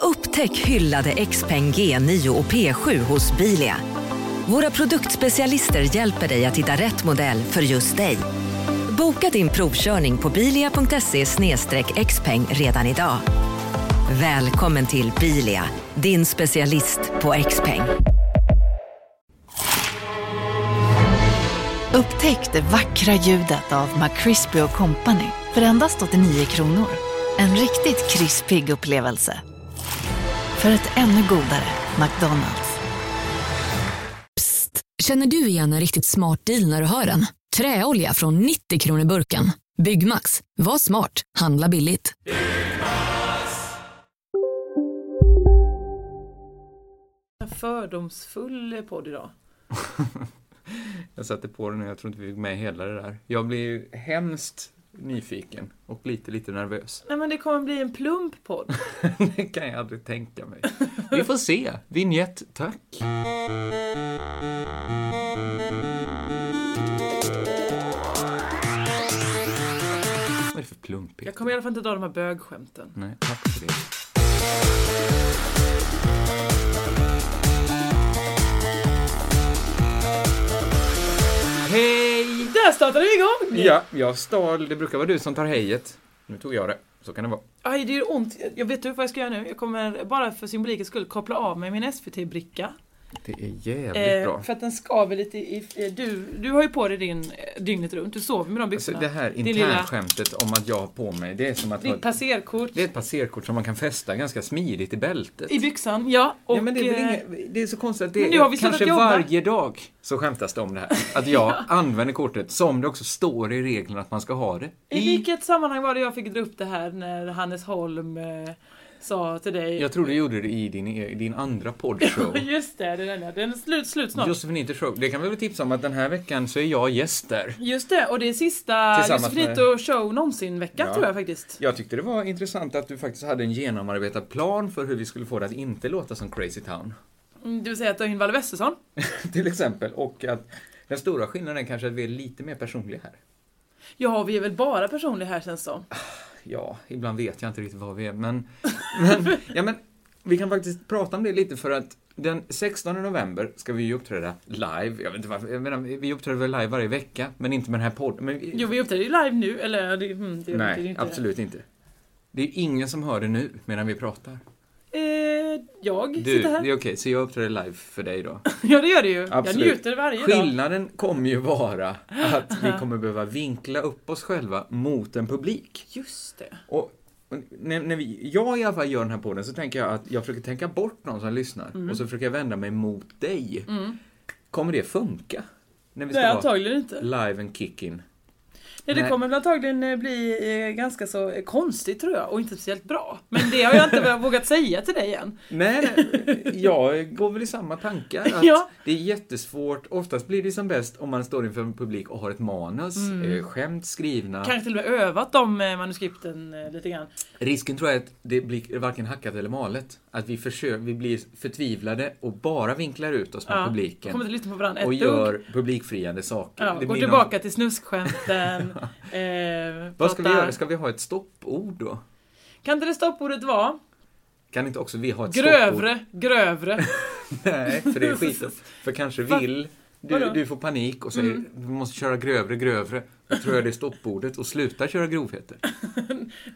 Upptäck hyllade XPeng G9 och P7 hos Bilia. Våra produktspecialister hjälper dig att hitta rätt modell för just dig. Boka din provkörning på bilia.se xpeng redan idag. Välkommen till Bilia, din specialist på XPeng. Upptäck det vackra ljudet av McCrispy Company för endast 89 kronor. En riktigt krispig upplevelse. För ett ännu godare McDonalds. Psst! Känner du igen en riktigt smart deal när du hör den? Träolja från 90 kronor burken. Byggmax. Var smart. Handla billigt. En fördomsfull podd idag. Jag satte på den och jag tror inte vi fick med hela det där. Jag blir ju hemskt nyfiken och lite, lite nervös. Nej men det kommer bli en plump podd. Det kan jag aldrig tänka mig. Vi får se. Vignett, tack. Vad är det för plump, Peter? Jag kommer i alla fall inte dra de här bögskämten. Nej, tack för det. Hej! Där startade vi igång! Ja, jag stal. Det brukar vara du som tar hejet. Nu tog jag det. Så kan det vara. Aj, det gör ont. Jag vet du vad jag ska göra nu? Jag kommer bara för symbolikens skull koppla av mig min SVT-bricka. Det är jävligt Eh, bra. för att den skaver lite i... i du, du har ju på dig din eh, dygnet runt. Du sover med de Alltså, byxorna. det här Din lilla- internskämtet om att jag har på mig, det är som att... ha Ditt ett- passerkort. Det är ett passerkort som man kan fästa ganska smidigt i bältet. I byxan, ja. Och, ja, men det, är väl eh, inget, det är så konstigt att men det nu har vi kanske slutat jobba. varje dag så skämtas det om det här. Att jag använder kortet som det också står i reglerna att man ska ha det. I vilket sammanhang var det jag fick dra upp det här när Hannes Holm eh, sa till dig... Jag tror du gjorde det i din, i din andra poddshow. Just det, det är den ja. Den är slut, slut snart. Just, Josefinito show. Det kan vi väl tipsa om att den här veckan så är jag gäst där. det, och det är sista Tillsammans Josefinito show någonsin vecka Ja. tror jag faktiskt. Jag tyckte det var intressant att du faktiskt hade en genomarbetad plan för hur vi skulle få det att inte låta som Crazy Town. Mm, Det vill säga att ta in Valle Westesson. Till exempel. Och att den stora skillnaden är kanske att vi är lite mer personliga här. Ja, vi är väl bara personliga här känns som. Ja, ibland vet jag inte riktigt vad vi är, men... men, ja, men vi kan faktiskt prata om det lite för att den 16 november ska vi ju uppträda live. Jag vet inte varför, jag menar, vi uppträder väl live varje vecka, men inte med den här podden. Men, Jo, vi uppträder ju live nu, eller ja, det, mm, det det är nej, inte absolut inte. Det är ju ingen som hör det nu medan vi pratar. Eh, jag Du, det sitter är här. okej, så jag uppträder live för dig då. Ja, det gör du ju. Absolut. Jag njuter varje dag. Skillnaden kommer ju vara att vi kommer behöva vinkla upp oss själva mot en publik. Just det. Och och när, när vi, jag i alla fall gör den här podden så tänker jag att jag försöker tänka bort någon som lyssnar och så försöker jag vända mig mot dig. Kommer det funka? När vi ska Nej, vara antagligen inte. live and kick-in. Nej, det Nej. kommer väl antagligen eh, bli eh, ganska så eh, konstigt tror jag och inte speciellt bra. Men det har jag inte vågat säga till dig än. Nej, nej, jag går väl i samma tankar. Att Ja. Det är jättesvårt. Oftast blir det som bäst om man står inför en publik och har ett manus, eh, skämt skrivna. Kanske till och med övat de eh, manuskripten eh, lite grann. Risken tror jag är att det blir varken hackat eller malet. Att vi, försöker, vi blir förtvivlade och bara vinklar ut oss mot Ja, publiken. Kommer inte lyssna på varandra ett och dugg. gör publikfriande saker. Ja, Det går blir någon- tillbaka till snuskskämten. eh, Vad ska vi prata- göra? Ska vi ha ett stoppord då? Kan inte det stoppordet vara? Kan inte också vi ha ett stoppord? Grövre, grövre. Nej, för det är skit. För kanske Va? vill Vadå? Mm. du, du får panik och säger vi måste köra grövre, grövre. Då tror jag det är stoppordet och sluta köra grovheter.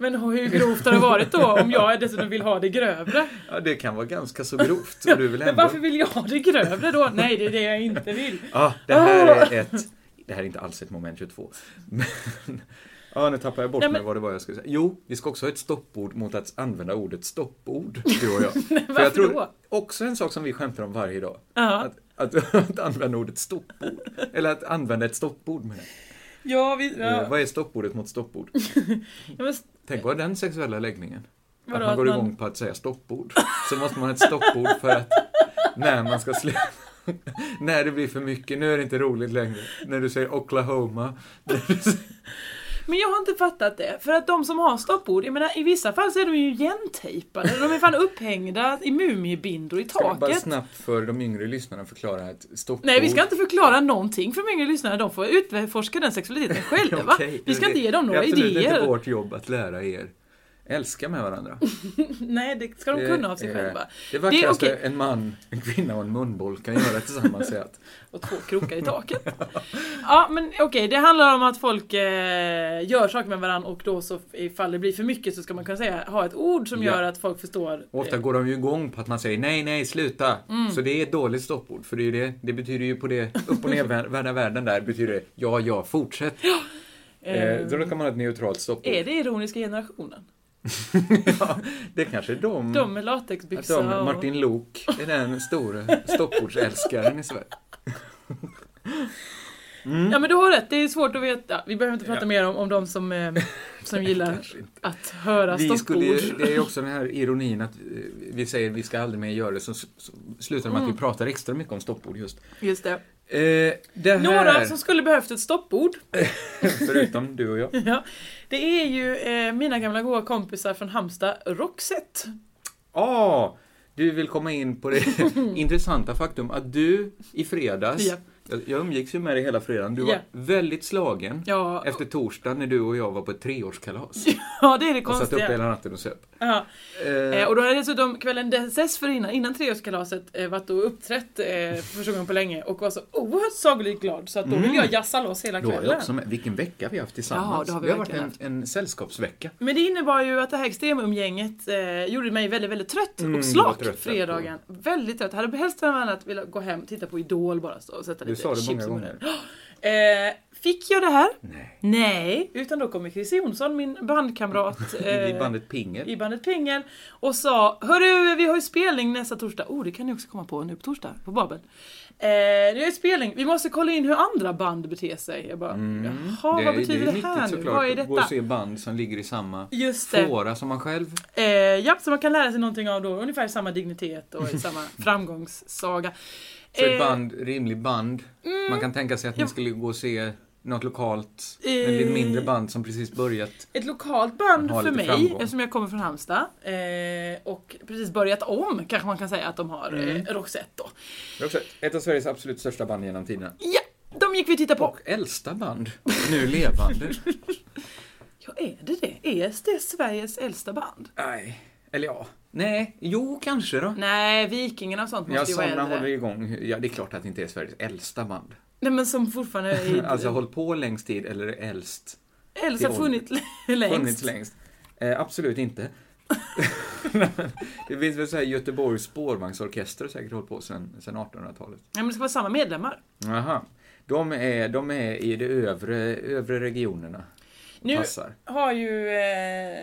Men hur grovt har det varit då om jag dessutom vill ha det grövre? Ja, det kan vara ganska så grovt. Och du vill Men ändå... varför vill jag ha det grövre då? Nej, det är det jag inte vill. Ja, det här Ah. är ett... Det här är inte alls ett moment 22. Men... Ja, nu tappar jag bort Nej, mig men- vad det var jag skulle säga. Jo, vi ska också ha ett stoppord mot att använda ordet stoppord, du och jag. Nej, varför jag tror då? också en sak som vi skämtar om varje dag. Ja. Att, att, att använda ordet stoppord. Eller att använda ett stoppord med. Ja, vi, ja. Eh, Vad är stoppordet mot stoppord? Ja, men Tänk vad är den sexuella läggningen? Vadå, att man att går man- igång på att säga stoppord. Så måste man ha ett stoppord för att när man ska sluta. när det blir för mycket, nu är det inte roligt längre. När du säger Oklahoma. Men jag har inte fattat det, för att de som har stoppord, jag menar i vissa fall så är de ju igentejpade, de är fan upphängda i mumiebindor i Ska vi bara taket. snabbt för de yngre lyssnarna förklara ett stoppord? Nej vi ska inte förklara någonting för de yngre lyssnare, de får utforska den sexualiteten själva. Okej, vi ska inte ge dem några Det är absolut inte idéer. vårt jobb att lära er älska med varandra. Nej, det ska de kunna av sig är- själva. Det vackraste Det är okej. en man, en kvinna och en munboll kan göra tillsammans är att Och två krokar i taket. Ja, men okej, det handlar om att folk eh, gör saker med varandra och då så ifall det blir för mycket så ska man kunna säga, ha ett ord som Ja. gör att folk förstår. Och Ofta går de ju igång på att man säger nej, nej, sluta. Mm. Så det är ett dåligt stoppord. För det, är ju det, det betyder ju på det upp och nervända världen där betyder det ja, ja, fortsätt. Eh, så då kan man ha ett neutralt stoppord. Är det ironiska generationen? Mm. ja, det kanske är de. De med att latexbyxor de Martin Lok är den store stoppordsälskaren i Sverige. och... Ja men du har rätt, det är svårt att veta. Vi behöver inte prata mer om, om de som, eh, som gillar Kanske inte. att höra Vi skulle ju, stoppord. det är ju också den här ironin att eh, vi säger vi ska aldrig mer göra det, så, s- så slutar det med Mm. att vi pratar extra mycket om stoppord just. Just det. Eh, det här, Några som skulle behövt ett stoppord, förutom du och jag. ja, det är ju eh, mina gamla goa kompisar från Halmstad, Roxette. Ah, du vill komma in på det intressanta faktum att du i fredags, Ja. jag, jag umgicks ju med dig hela fredagen, du Ja. var väldigt slagen Ja. efter torsdagen när du och jag var på ett treårskalas. Ja, det är det Och satt upp konstiga. hela natten och söp. Ja. Eh, Eh, och då hade jag dessutom kvällen dessförinnan, innan treårskalaset, eh, varit och uppträtt eh, för första gången på länge och var så oerhört sagolikt glad så att då ville jag jassa loss hela Mm. då var jag kvällen. också med. Vilken vecka vi har haft tillsammans. Ja, det har vi det har varit verkligen en, en sällskapsvecka. Men det innebar ju att det här extremumgänget eh, gjorde mig väldigt, väldigt trött Mm, och du var slak trött, fredagen. Väldigt trött. Hade helst bland annat velat gå hem, titta på Idol bara så, och sätta Du lite sa det chips många i gånger. munnen. Eh, fick jag det här? Nej. Nej, utan då kommer Chris Jonsson, min bandkamrat, I eh, bandet Pingel. i bandet Pingel och sa Hörru, vi har ju spelning nästa torsdag. Oh, det kan ni också komma på nu på torsdag, på Babel. Eh, vi har ju spelning, vi måste kolla in hur andra band beter sig. Jag bara, Mm. jaha, vad betyder det, här nu? Vad är att gå och detta? se band som ligger i samma Just det. fåra som man själv. Eh, ja, så man kan lära sig någonting av då, ungefär samma dignitet och samma framgångssaga. Så ett Eh, mm, band, rimlig band. Man kan tänka sig att ni skulle gå och se något lokalt, Eh, med lite mindre band som precis börjat. Ett lokalt band Har för lite mig, framgång. eftersom jag kommer från Halmstad. Eh, och precis börjat om, kanske man kan säga att de har Mm. eh, Roxette då. Ett av Sveriges absolut största band genom tiderna. Ja, de gick vi och tittade på. Och äldsta band, nu levande. Ja, är det det? Är det Sveriges äldsta band? Nej, eller ja, nej, jo kanske då. Nej, Vikingarna och sånt måste Ja, ju vara sådana äldre. håller igång. Ja, det är klart att det inte är Sveriges äldsta band. Nej men som fortfarande är Alltså håll på längst tid eller äldst. äldst har i funnits längst. Funnits längst. Eh, absolut inte. det finns väl så här Göteborgs spårvagnsorkester har säkert hållit på sedan sedan 1800-talet. Ja, men det ska vara samma medlemmar. Aha. De är, de är i de övre, övre regionerna. Nu Passar. har ju... Eh,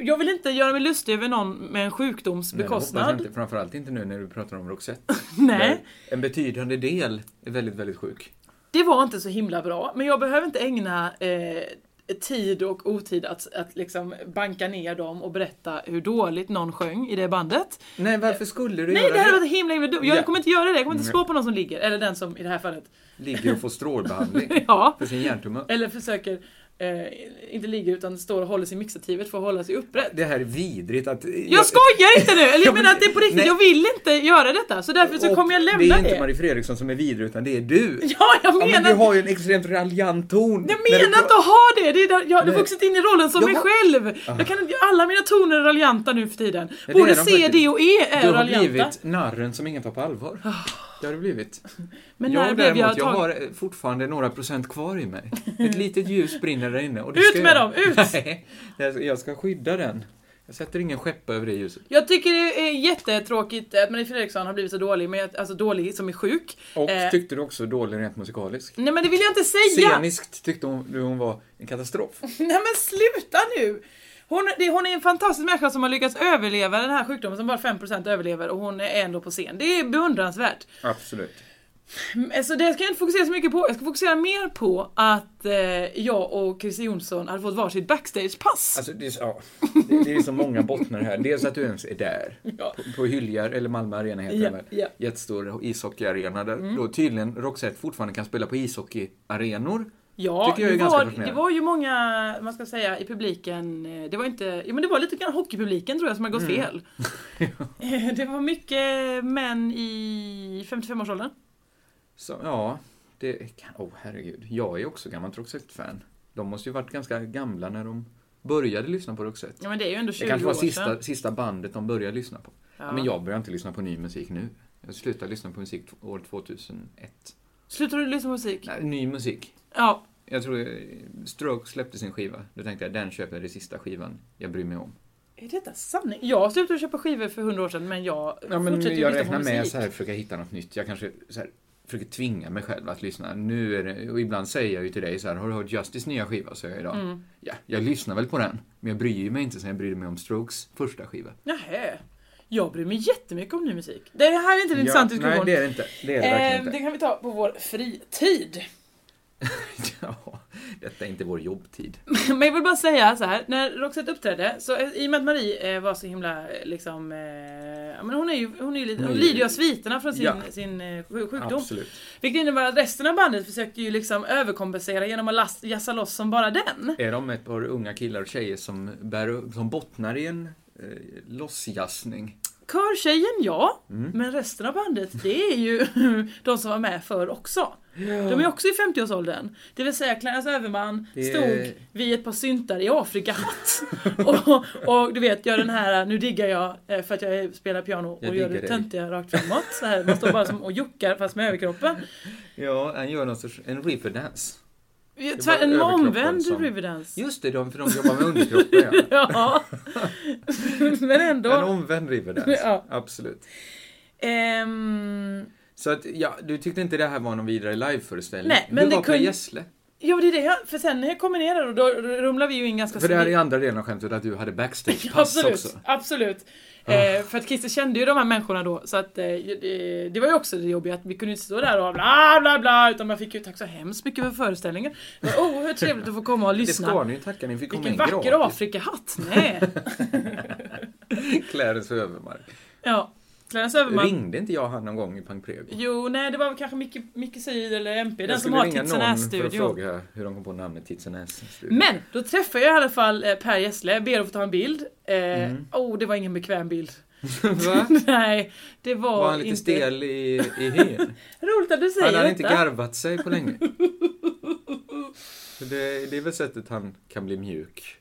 jag vill inte göra mig lustig över någon med en sjukdoms Men det hoppas jag bekostnad. inte, framförallt inte nu när du pratar om Roxette. Nej, Där En betydande del är väldigt, väldigt sjuk. det var inte så himla bra. Men jag behöver inte ägna eh, tid och otid att, att liksom banka ner dem och berätta hur dåligt någon sjöng i det bandet. Nej, varför skulle du Nej, göra det hade varit himla, himla dumt. Jag Ja. kommer inte göra det. Jag kommer inte slå på någon som ligger. Eller den som i det här fallet. Ligger och får strålbehandling Ja. för sin hjärntumör. Eller försöker, eh, inte ligga utan står och håller sig i mixativet för att hålla sig upprätt. Det här är vidrigt att... Jag skojar inte nu! Eller Ja, jag men- menar att det är på riktigt, nej. jag vill inte göra detta. Så därför så Och kommer jag Det lämna är det. inte Marie Fredriksson som är vidrig, utan det är du. Ja, jag Ja, menar... men du har ju en extremt raljant ton. Jag när du menar pratar. inte att ha det! det är där, jag har Nej. vuxit in i rollen som Jag mig har- själv! Jag kan, inte- alla mina toner är raljanta nu för tiden. det Både är de C, D faktiskt. och E är Du har raljanta. Ah. blivit narren som ingen tar på allvar. Det har du blivit. Men jag när blev jag däremot, jag tagen? har eh, fortfarande några procent kvar i mig. Ett litet ljus brinner där inne. Och det Ut ska med jag... dem, ut! Nej, det här- jag ska skydda den. Jag sätter ingen skeppa över det ljuset. Jag tycker det är jättetråkigt att Marie Fredriksson har blivit så dålig, men jag, alltså dålig som är sjuk. Och Eh, tyckte du också dålig rent musikalisk? Nej men det vill jag inte säga! Sceniskt tyckte hon, du hon var en katastrof. Nej men sluta nu! Hon, det, hon är en fantastisk människa som har lyckats överleva den här sjukdomen som bara 5% överlever och hon är ändå på scen. Det är beundransvärt. Absolut. Mm, Så det ska jag inte fokusera så mycket på. Jag ska fokusera mer på att eh, jag och Chris Jonsson hade fått varsitt backstagepass. Alltså, det är, så- ja, det, det är så många bottnar här. Dels att du ens är där. Ja. På, på Hyljar, eller Malmö Arena heter Ja, den väl? ja. Mm. Jättestor ishockeyarena där då tydligen Roxette fortfarande kan spela på ishockeyarenor. Ja, Tycker jag är det ganska var, det fascinerande. var ju många, man ska säga, i publiken. eh, Det var inte, ja men det var lite grann hockeypubliken tror jag som har Mm. gått fel. Eh, det var mycket män i 55-årsåldern. Så, ja, det kan... Åh, herregud. Jag är också gammal Roxette-fan. De måste ju varit ganska gamla när de började lyssna på Roxette. Ja men det är ju ändå 20 Det kanske var år sista, sedan. sista bandet de började lyssna på. Ja. Men jag börjar inte lyssna på ny musik nu. Jag slutade lyssna på musik t- år 2001. Slutar du lyssna på musik? Nej, ny musik. Ja. Jag tror eh, Stroke släppte sin skiva. Då tänkte jag, den köper jag, det är sista skivan jag bryr mig om. Är detta sanning? Jag slutade köpa skivor för 100 år sedan men jag Ja, men fortsätter ju jag lyssna på räknar med musik. så här, försöka hitta något nytt. Jag kanske så här, försöker tvinga mig själv att lyssna. Nu är det, och ibland säger jag ju till dig så här, har du hört Justice nya skiva? Säger jag idag. Mm. Ja, jag lyssnar väl på den. Men jag bryr mig inte sen jag brydde mig om Strokes första skiva. Nähä. Jag bryr mig jättemycket om ny musik. Det här är inte en intressant ja, diskussion. Nej, det är det inte. Det är det verkligen Eh, inte. det kan vi ta på vår fritid. Ja, detta är inte vår jobbtid. Men jag vill bara säga så här. när Roxette uppträdde, så eh, i och med att Marie eh, var så himla eh, liksom, eh, ja, men hon är ju, hon är ju lite, Hon hon är lider ju ju- av sviterna från sin, Ja. sin eh, sju- sjukdom. Vilket innebär att resten av bandet försökte ju liksom överkompensera genom att last, jassa loss som bara den. Är de ett par unga killar och tjejer som, bär, upp- som bottnar i en eh, lossjassning? Körtjejen ja, Mm. men resten av bandet det är ju de som var med förr också. De är också i 50-årsåldern. Det vill säga Clarence Överman Det- stod vid ett par syntar i Afrikahatt. och, och du vet, gör den här nu diggar jag eh, för att jag är- spelar piano Jag och gör diggar det dig. töntiga rakt framåt. Så här, man står bara som och juckar fast med överkroppen. Ja, han gör någon sorts, en riverdance. Tvär, en överkroppen omvänd som- Riverdance. Just det, de, för de jobbar med underkroppen ja. Ja. men En ändå. omvänd riverdance, Ja. absolut. Ehm, Så att, ja, du tyckte inte det här var någon vidare liveföreställning? Nej, men du det var på kunde- Alltså, Gessle. Ja men det är det jag, för sen när jag kommer ner där och då rumlar vi ju in ganska För det här är smidigt. andra delen av skämtet, att du hade backstagepass Absolut, också. absolut. Eh, för att Christer kände ju de här människorna då, så att eh, det, det var ju också det jobbiga att vi kunde inte stå där och bla bla bla, utan man fick ju tack så hemskt mycket för föreställningen. Det var oerhört trevligt att få komma och Det ska lyssna. ni ju tacka, ni fick komma Vilken in vacker gratis. Afrikahatt! Nej! Clarence Övermark. Ja, Clarence Överman. Ringde inte jag han någon gång i Pank Prego? Jo, nej det var väl kanske Micke, Micke Syd eller MP, den Jag som skulle har ringa Tits and någon för att Ass-studion. fråga hur de kom på namnet Tits and Ass-studion. Men då träffar jag i alla fall eh, Per Gessle, ber att få ta en bild. Eh, Mm. Oh, det var ingen bekväm bild. Va? Nej, det var, Var han lite inte... stel i, i hyn? Roligt att du Hade säger han inte detta. garvat sig på länge? Så Det, det är väl sättet han kan bli mjuk.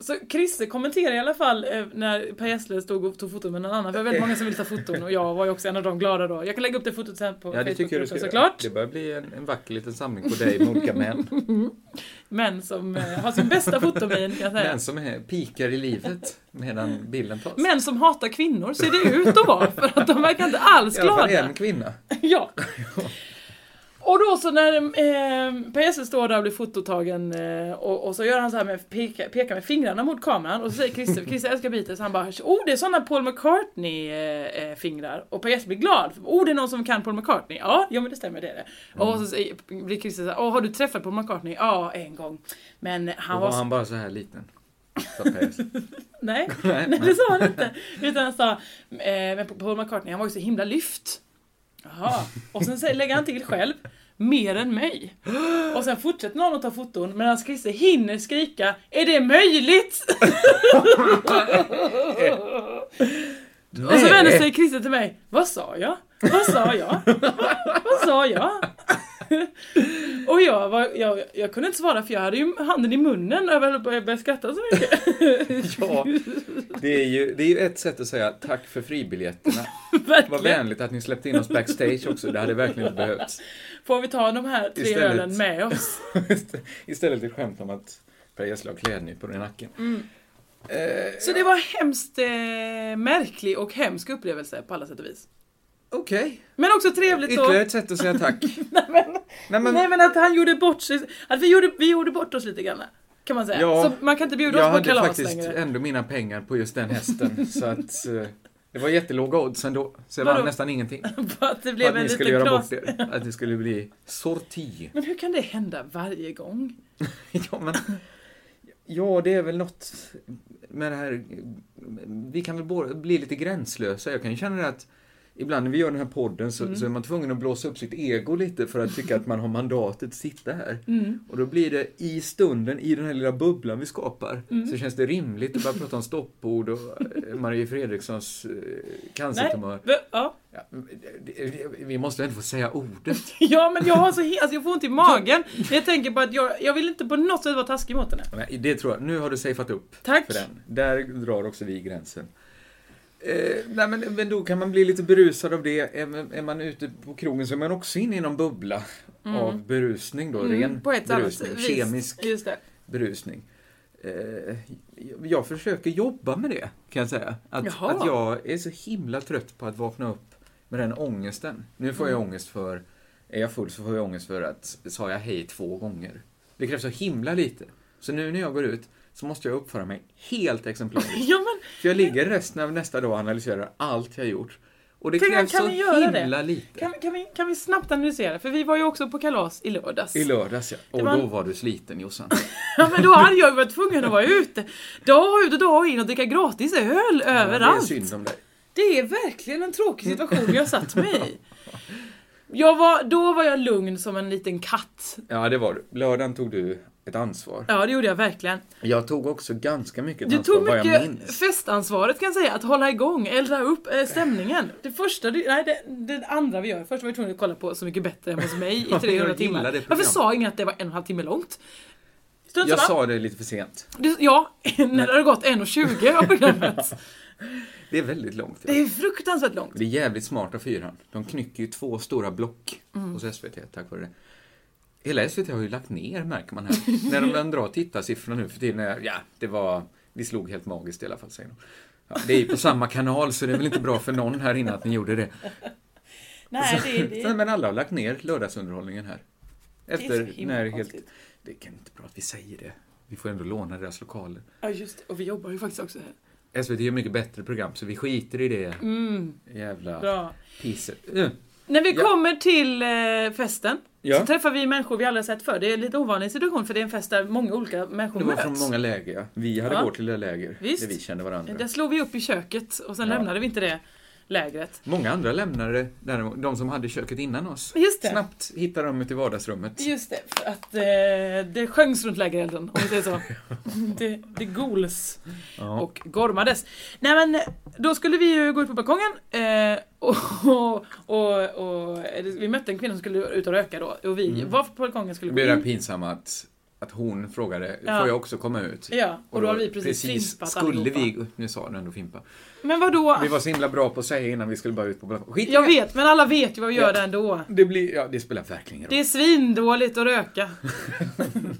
Så Christer kommenterade i alla fall eh, när Per Gessle stod och tog foton med någon annan. För Eh. det var väldigt många som ville ta foton och jag var ju också en av de glada då. Jag kan lägga upp det fotot sen på Ja, det tycker jag du ska Facebookgruppen göra. såklart. Det börjar bli en, en vacker liten samling på dig med olika män. Men som eh, har sin bästa fotomin kan jag säga. Män som är pikar i livet medan bilden tas. Män som hatar kvinnor ser det ut att vara för att de verkar inte alls I alla fall glada. en kvinna. Ja. Och då så när eh, Per Gessle står där och blir fototagen eh, och, och så gör han så här med peka, pekar med fingrarna mot kameran och så säger Christer, för Christer älskar Beatles, han bara oh det är såna Paul McCartney eh, eh, fingrar och Per Gessle blir glad, oh det är någon som kan Paul McCartney, ja, ja men det stämmer det är det. Och så säger, blir Christer såhär, oh, har du träffat Paul McCartney? Ja en gång. Men Då han var, var så han bara så här liten. sa Pers. Nej, nej det sa han inte. Utan han sa, eh, men Paul McCartney han var ju så himla lyft. Jaha. Och sen säger- lägger han till själv, mer än mig. Och sen fortsätter någon att ta foton medan Christer hinner skrika, är det möjligt? Och så Alltså, vänder sig Christer till mig, vad sa jag? Vad sa jag? Vad sa jag? Och jag, var, jag, jag kunde inte svara för jag hade ju handen i munnen över att jag började skratta så mycket. Ja, det är, ju, det är ju ett sätt att säga tack för fribiljetterna. Vad Verkligen. vänligt att ni släppte in oss backstage också, det hade verkligen inte behövts. Får vi ta de här tre Istället. ölen med oss? Istället ett skämt om att Per Gessle har klädnypor i nacken. Mm. Eh, Så det var hemskt eh, märklig och hemsk upplevelse på alla sätt och vis. Okej, Men också trevligt då. ytterligare ett sätt att säga tack. Nej men, Nej, men- nej men att han gjorde bort sig. Att vi gjorde, vi gjorde bort oss lite grann. Kan man säga. Ja. så man kan inte bjuda Jag oss på hade kalas faktiskt längre. ändå mina pengar på just den hästen, så att eh, det var jättelåga odds ändå. Så jag Vadå? vann nästan ingenting. På För att det att blev en ni skulle liten göra bort knas. det. Att det skulle bli sorti. Men hur kan det hända varje gång? Ja, men... Ja, det är väl något med det här... Vi kan väl båda bli lite gränslösa. Jag kan ju känna det att ibland när vi gör den här podden så, så är man tvungen att blåsa upp sitt ego lite för att tycka att man har mandatet att sitta här. Och då blir det i stunden, i den här lilla bubblan vi skapar, så känns det rimligt att börja prata om stoppord och eh, Marie Fredrikssons eh, Nej, cancertumör. v- ja. Ja, eh, vi måste ändå få säga ordet. ja men jag har så he- alltså, jag får ont i magen. Jag tänker bara att jag, jag vill inte på något sätt vara taskig mot henne. Nej, det tror jag. Nu har du safeat upp Tack. för den. Där drar också vi gränsen. Eh, nej, men, men då kan man bli lite berusad av det. Är, är man ute på krogen så är man också inne i någon bubbla av berusning då. ren Mm. på ett annat berusning, vis. kemisk Just det. berusning. Eh, jag, jag försöker jobba med det, kan jag säga. Att, Jaha. att jag är så himla trött på att vakna upp med den ångesten. Nu får jag Mm. ångest för, är jag full så får jag ångest för att sa jag hej två gånger. Det krävs så himla lite. Så nu när jag går ut så måste jag uppföra mig helt exemplariskt. Ja men För jag ligger resten av nästa dag och analyserar allt jag gjort. Och det Kan- krävs kan så vi göra det? himla lite. kan, kan, vi, kan vi snabbt analysera? För vi var ju också på kalas i lördags. I lördags ja. Och var- då var du sliten Jossan. Ja men då hade jag ju varit tvungen att vara ute. Dag ut och dag in och dricka gratis öl Det är överallt. synd om dig. Det är verkligen en tråkig situation jag satt mig i. Jag var, då var jag lugn som en liten katt. Ja, det var du. Lördagen tog du ett ansvar. Ja, det gjorde jag verkligen. Jag tog också ganska mycket Du ansvar tog Alltså, vad jag mycket minns. festansvaret kan jag säga, att hålla igång, elda upp eh, stämningen. Det första, du- nej det, det andra vi gör, först var vi tvungna att kolla på Så Mycket Bättre hemma hos mig i 300 Jag gillar det timmar. programmet. Varför sa ingen att det var en och en halv timme långt? Strunt Jag samma. sa det lite för sent. Du, ja, när det har gått 1.20 av programmet. Det är väldigt långt. Det är fruktansvärt långt. Det är jävligt smart av fyran. De knycker ju två stora block Mm. hos SVT tack vare det. Hela SVT har ju lagt ner märker man här. När de börjar dra tittarsiffrorna nu för tiden. är- Ja, det var... Vi slog helt magiskt i alla fall säger de. Ja, det är ju på samma kanal så det är väl inte bra för någon här inne att ni gjorde det. Nej, det är... Nej, men alla har lagt ner lördagsunderhållningen här. så Efter himla när helt... konstigt. Det kan inte bra att vi säger det. Vi får ändå låna deras lokaler. Ja, just det. Och vi jobbar ju faktiskt också här. SVT gör mycket bättre program, så vi skiter i det jävla Mm. Bra. pisset. Mm. När vi Ja. kommer till eh, festen Ja. så träffar vi människor vi aldrig har sett förr. Det är en lite ovanlig situation för det är en fest där många olika människor Det var möts. från många läger, ja. Vi hade Ja. vårt lilla läger, Visst. där vi kände varandra. Där slog vi upp i köket och sen Ja. lämnade vi inte det lägret. Många andra lämnade det, däremot, de som hade köket innan oss. Just det. Snabbt hittade de ut i vardagsrummet. Just det, för att eh, det sjöngs runt lägerelden om vi säger så. det, det gols och gormades. Nej men då skulle vi ju gå ut på balkongen eh, och, och, och, och vi mötte en kvinna som skulle ut och röka då och vi Mm. var på balkongen skulle Det gå blev det här in. pinsamma att, att hon frågade, Ja. får jag också komma ut? Ja, och, då har vi precis, fimpat skulle allihopa. vi, nu sa du ändå fimpa. Men vadå? Vi var så himla bra på att säga innan vi skulle bara ut på balkongen. Skit i Jag det. vet, men alla vet ju vad vi gör Ja. där ändå. Det blir, ja det spelar verkligen ingen Det roll. är svindåligt att röka.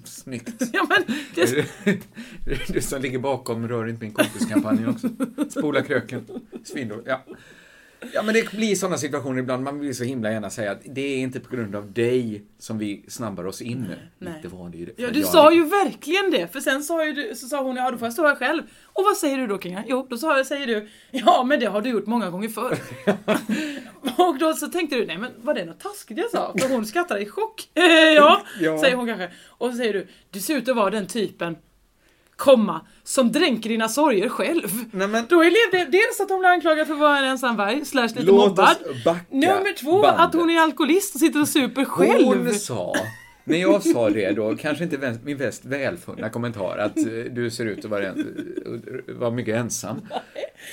Snyggt. Ja, men det, Du som ligger bakom Rör inte min kompis-kampanjen också. Spola kröken. Svindor. Ja. ja, men det blir sådana situationer ibland. Man vill så himla gärna säga att det är inte på grund av dig som vi snabbar oss in nu. Nej. Inte var det ju det. ja, För du jag sa hade- ju verkligen det, för sen sa, ju du, så sa hon ja då får jag stå här själv. Och vad säger du då Kinga? Jo, då sa jag, säger du ja men det har du gjort många gånger förr. och då så tänkte du nej men var det något taskigt jag sa? För hon skrattar i chock. Eh, ja, Ja. säger hon kanske. Och så säger du du ser ut att vara den typen, komma, som dränker dina sorger själv. Nej, men- Då är det dels att hon blir anklagad för att vara en ensam varg, slash lite Låt mobbad. oss backa Nummer två, bandet. att hon är alkoholist och sitter och super själv. Hon sa, när jag sa det då, kanske inte vän- min mest välfunna kommentar, att eh, du ser ut att vara, en, eh, vara mycket ensam.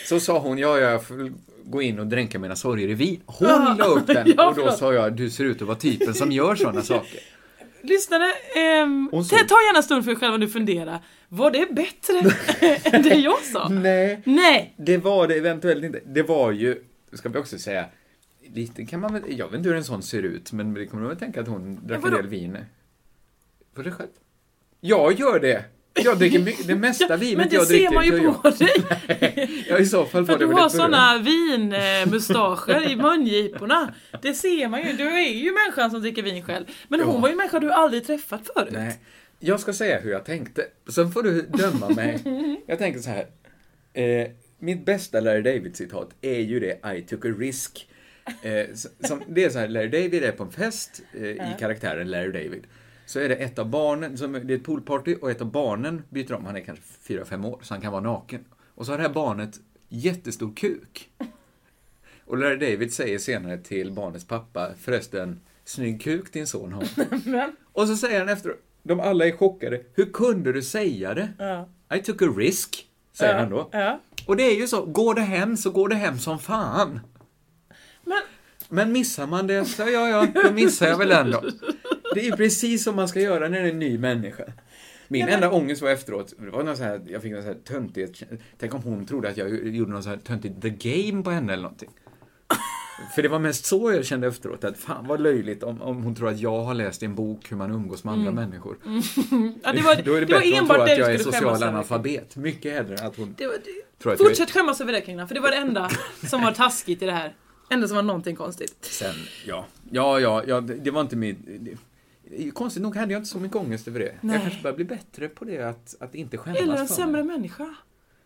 Så sa hon, ja, ja, jag får gå in och dränka mina sorger i vin. Hon la upp den Ja, och då förlåt. sa jag, du ser ut att vara typen som gör sådana saker. Lyssnare, ehm, Hon ta sa- ta gärna en stund för er själva nu och fundera. Var det bättre än det jag sa? Nej, Nej. det var det eventuellt inte. Det var ju, ska vi också säga, lite kan man väl, jag vet inte hur en sån ser ut, men det kommer nog att tänka att hon drack en vadå? del vin. För sig själv. Jag gör det! Jag dricker my- det mesta vinet Men det jag dricker. ser man ju gör på dig. Ja, i så fall För var du det väl har ett beröm. såna vinmustascher i mungiporna. Det ser man ju. Du är ju människan som dricker vin själv. Men hon Ja. var ju en människa du aldrig träffat förut. Nej, jag ska säga hur jag tänkte. Sen får du döma mig. Jag tänker så här. Eh, mitt bästa Larry David-citat är ju det I took a risk. Eh, s- som, det är så här, Larry David är på en fest eh, i karaktären Larry David. Så är det ett av barnen, som, det är ett poolparty och ett av barnen byter om. Han är kanske 4-5 år, så han kan vara naken. Och så har det här barnet jättestor kuk. Och Larry David säger senare till barnets pappa, förresten, snygg kuk din son har. och så säger han efteråt, de alla är chockade, hur kunde du säga det? I took a risk, säger han då. Ja. Och det är ju så, går det hem så går det hem som fan. Men Men missar man det, så ja, ja, då missar jag väl ändå. Det är ju precis som man ska göra när det är en ny människa. Min enda ångest var efteråt, det var någon så här, jag fick någon så här töntighet, tänk om hon trodde att jag gjorde någon så här töntigt the game på henne eller någonting. För det var mest så jag kände efteråt, att fan vad löjligt om, om hon tror att jag har läst i en bok hur man umgås med andra människor. ja, Mm. det var, Då är det, det var bättre att hon enbart tror det att du jag är skulle skämmas social över. analfabet. Mycket hellre än att hon... Det var, Tror att jag är- fortsätt skämmas över det Kringlan, för det var det enda som var taskigt i det här. Enda som var någonting konstigt. Sen, ja. Ja, ja, ja det, det var inte min... Det, det- konstigt nog hade jag inte så mycket ångest över det. Nej. Jag kanske börjar bli bättre på det, att, att inte skämmas Eller en för sämre mig. människa.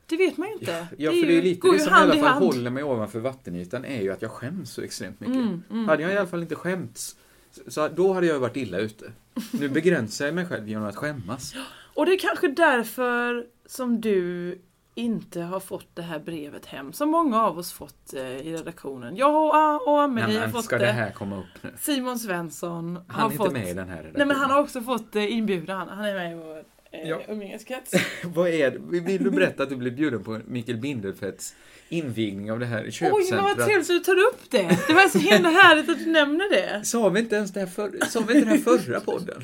Det vet man ju inte. Ja, för det är lite går det ju som i alla fall håller mig ovanför vattenytan är ju att jag skäms så extremt mycket. Mm, Hade jag i alla fall inte skämts, så- så då hade jag varit illa ute. Nu begränsar jag mig själv genom att skämmas. Och det är kanske därför som du inte har fått det här brevet hem, som många av oss fått eh, i redaktionen. Jag och, A- och Amelie har Men fått ska det. det här komma upp nu? Simon Svensson Han har är fått... inte med i den här redaktionen. Nej men han har också fått eh, inbjudan. Han är med i vår eh, Ja. umgängeskrets. Vad är det? Vill du berätta att du blev bjuden på Mikael Bindelfeldts invigning av det här Oj, men vad köpcentrat? trevligt att du tar upp det! Det var så himla härligt att du nämner det. Sa vi inte ens det här, för, sa vi inte den här förra podden?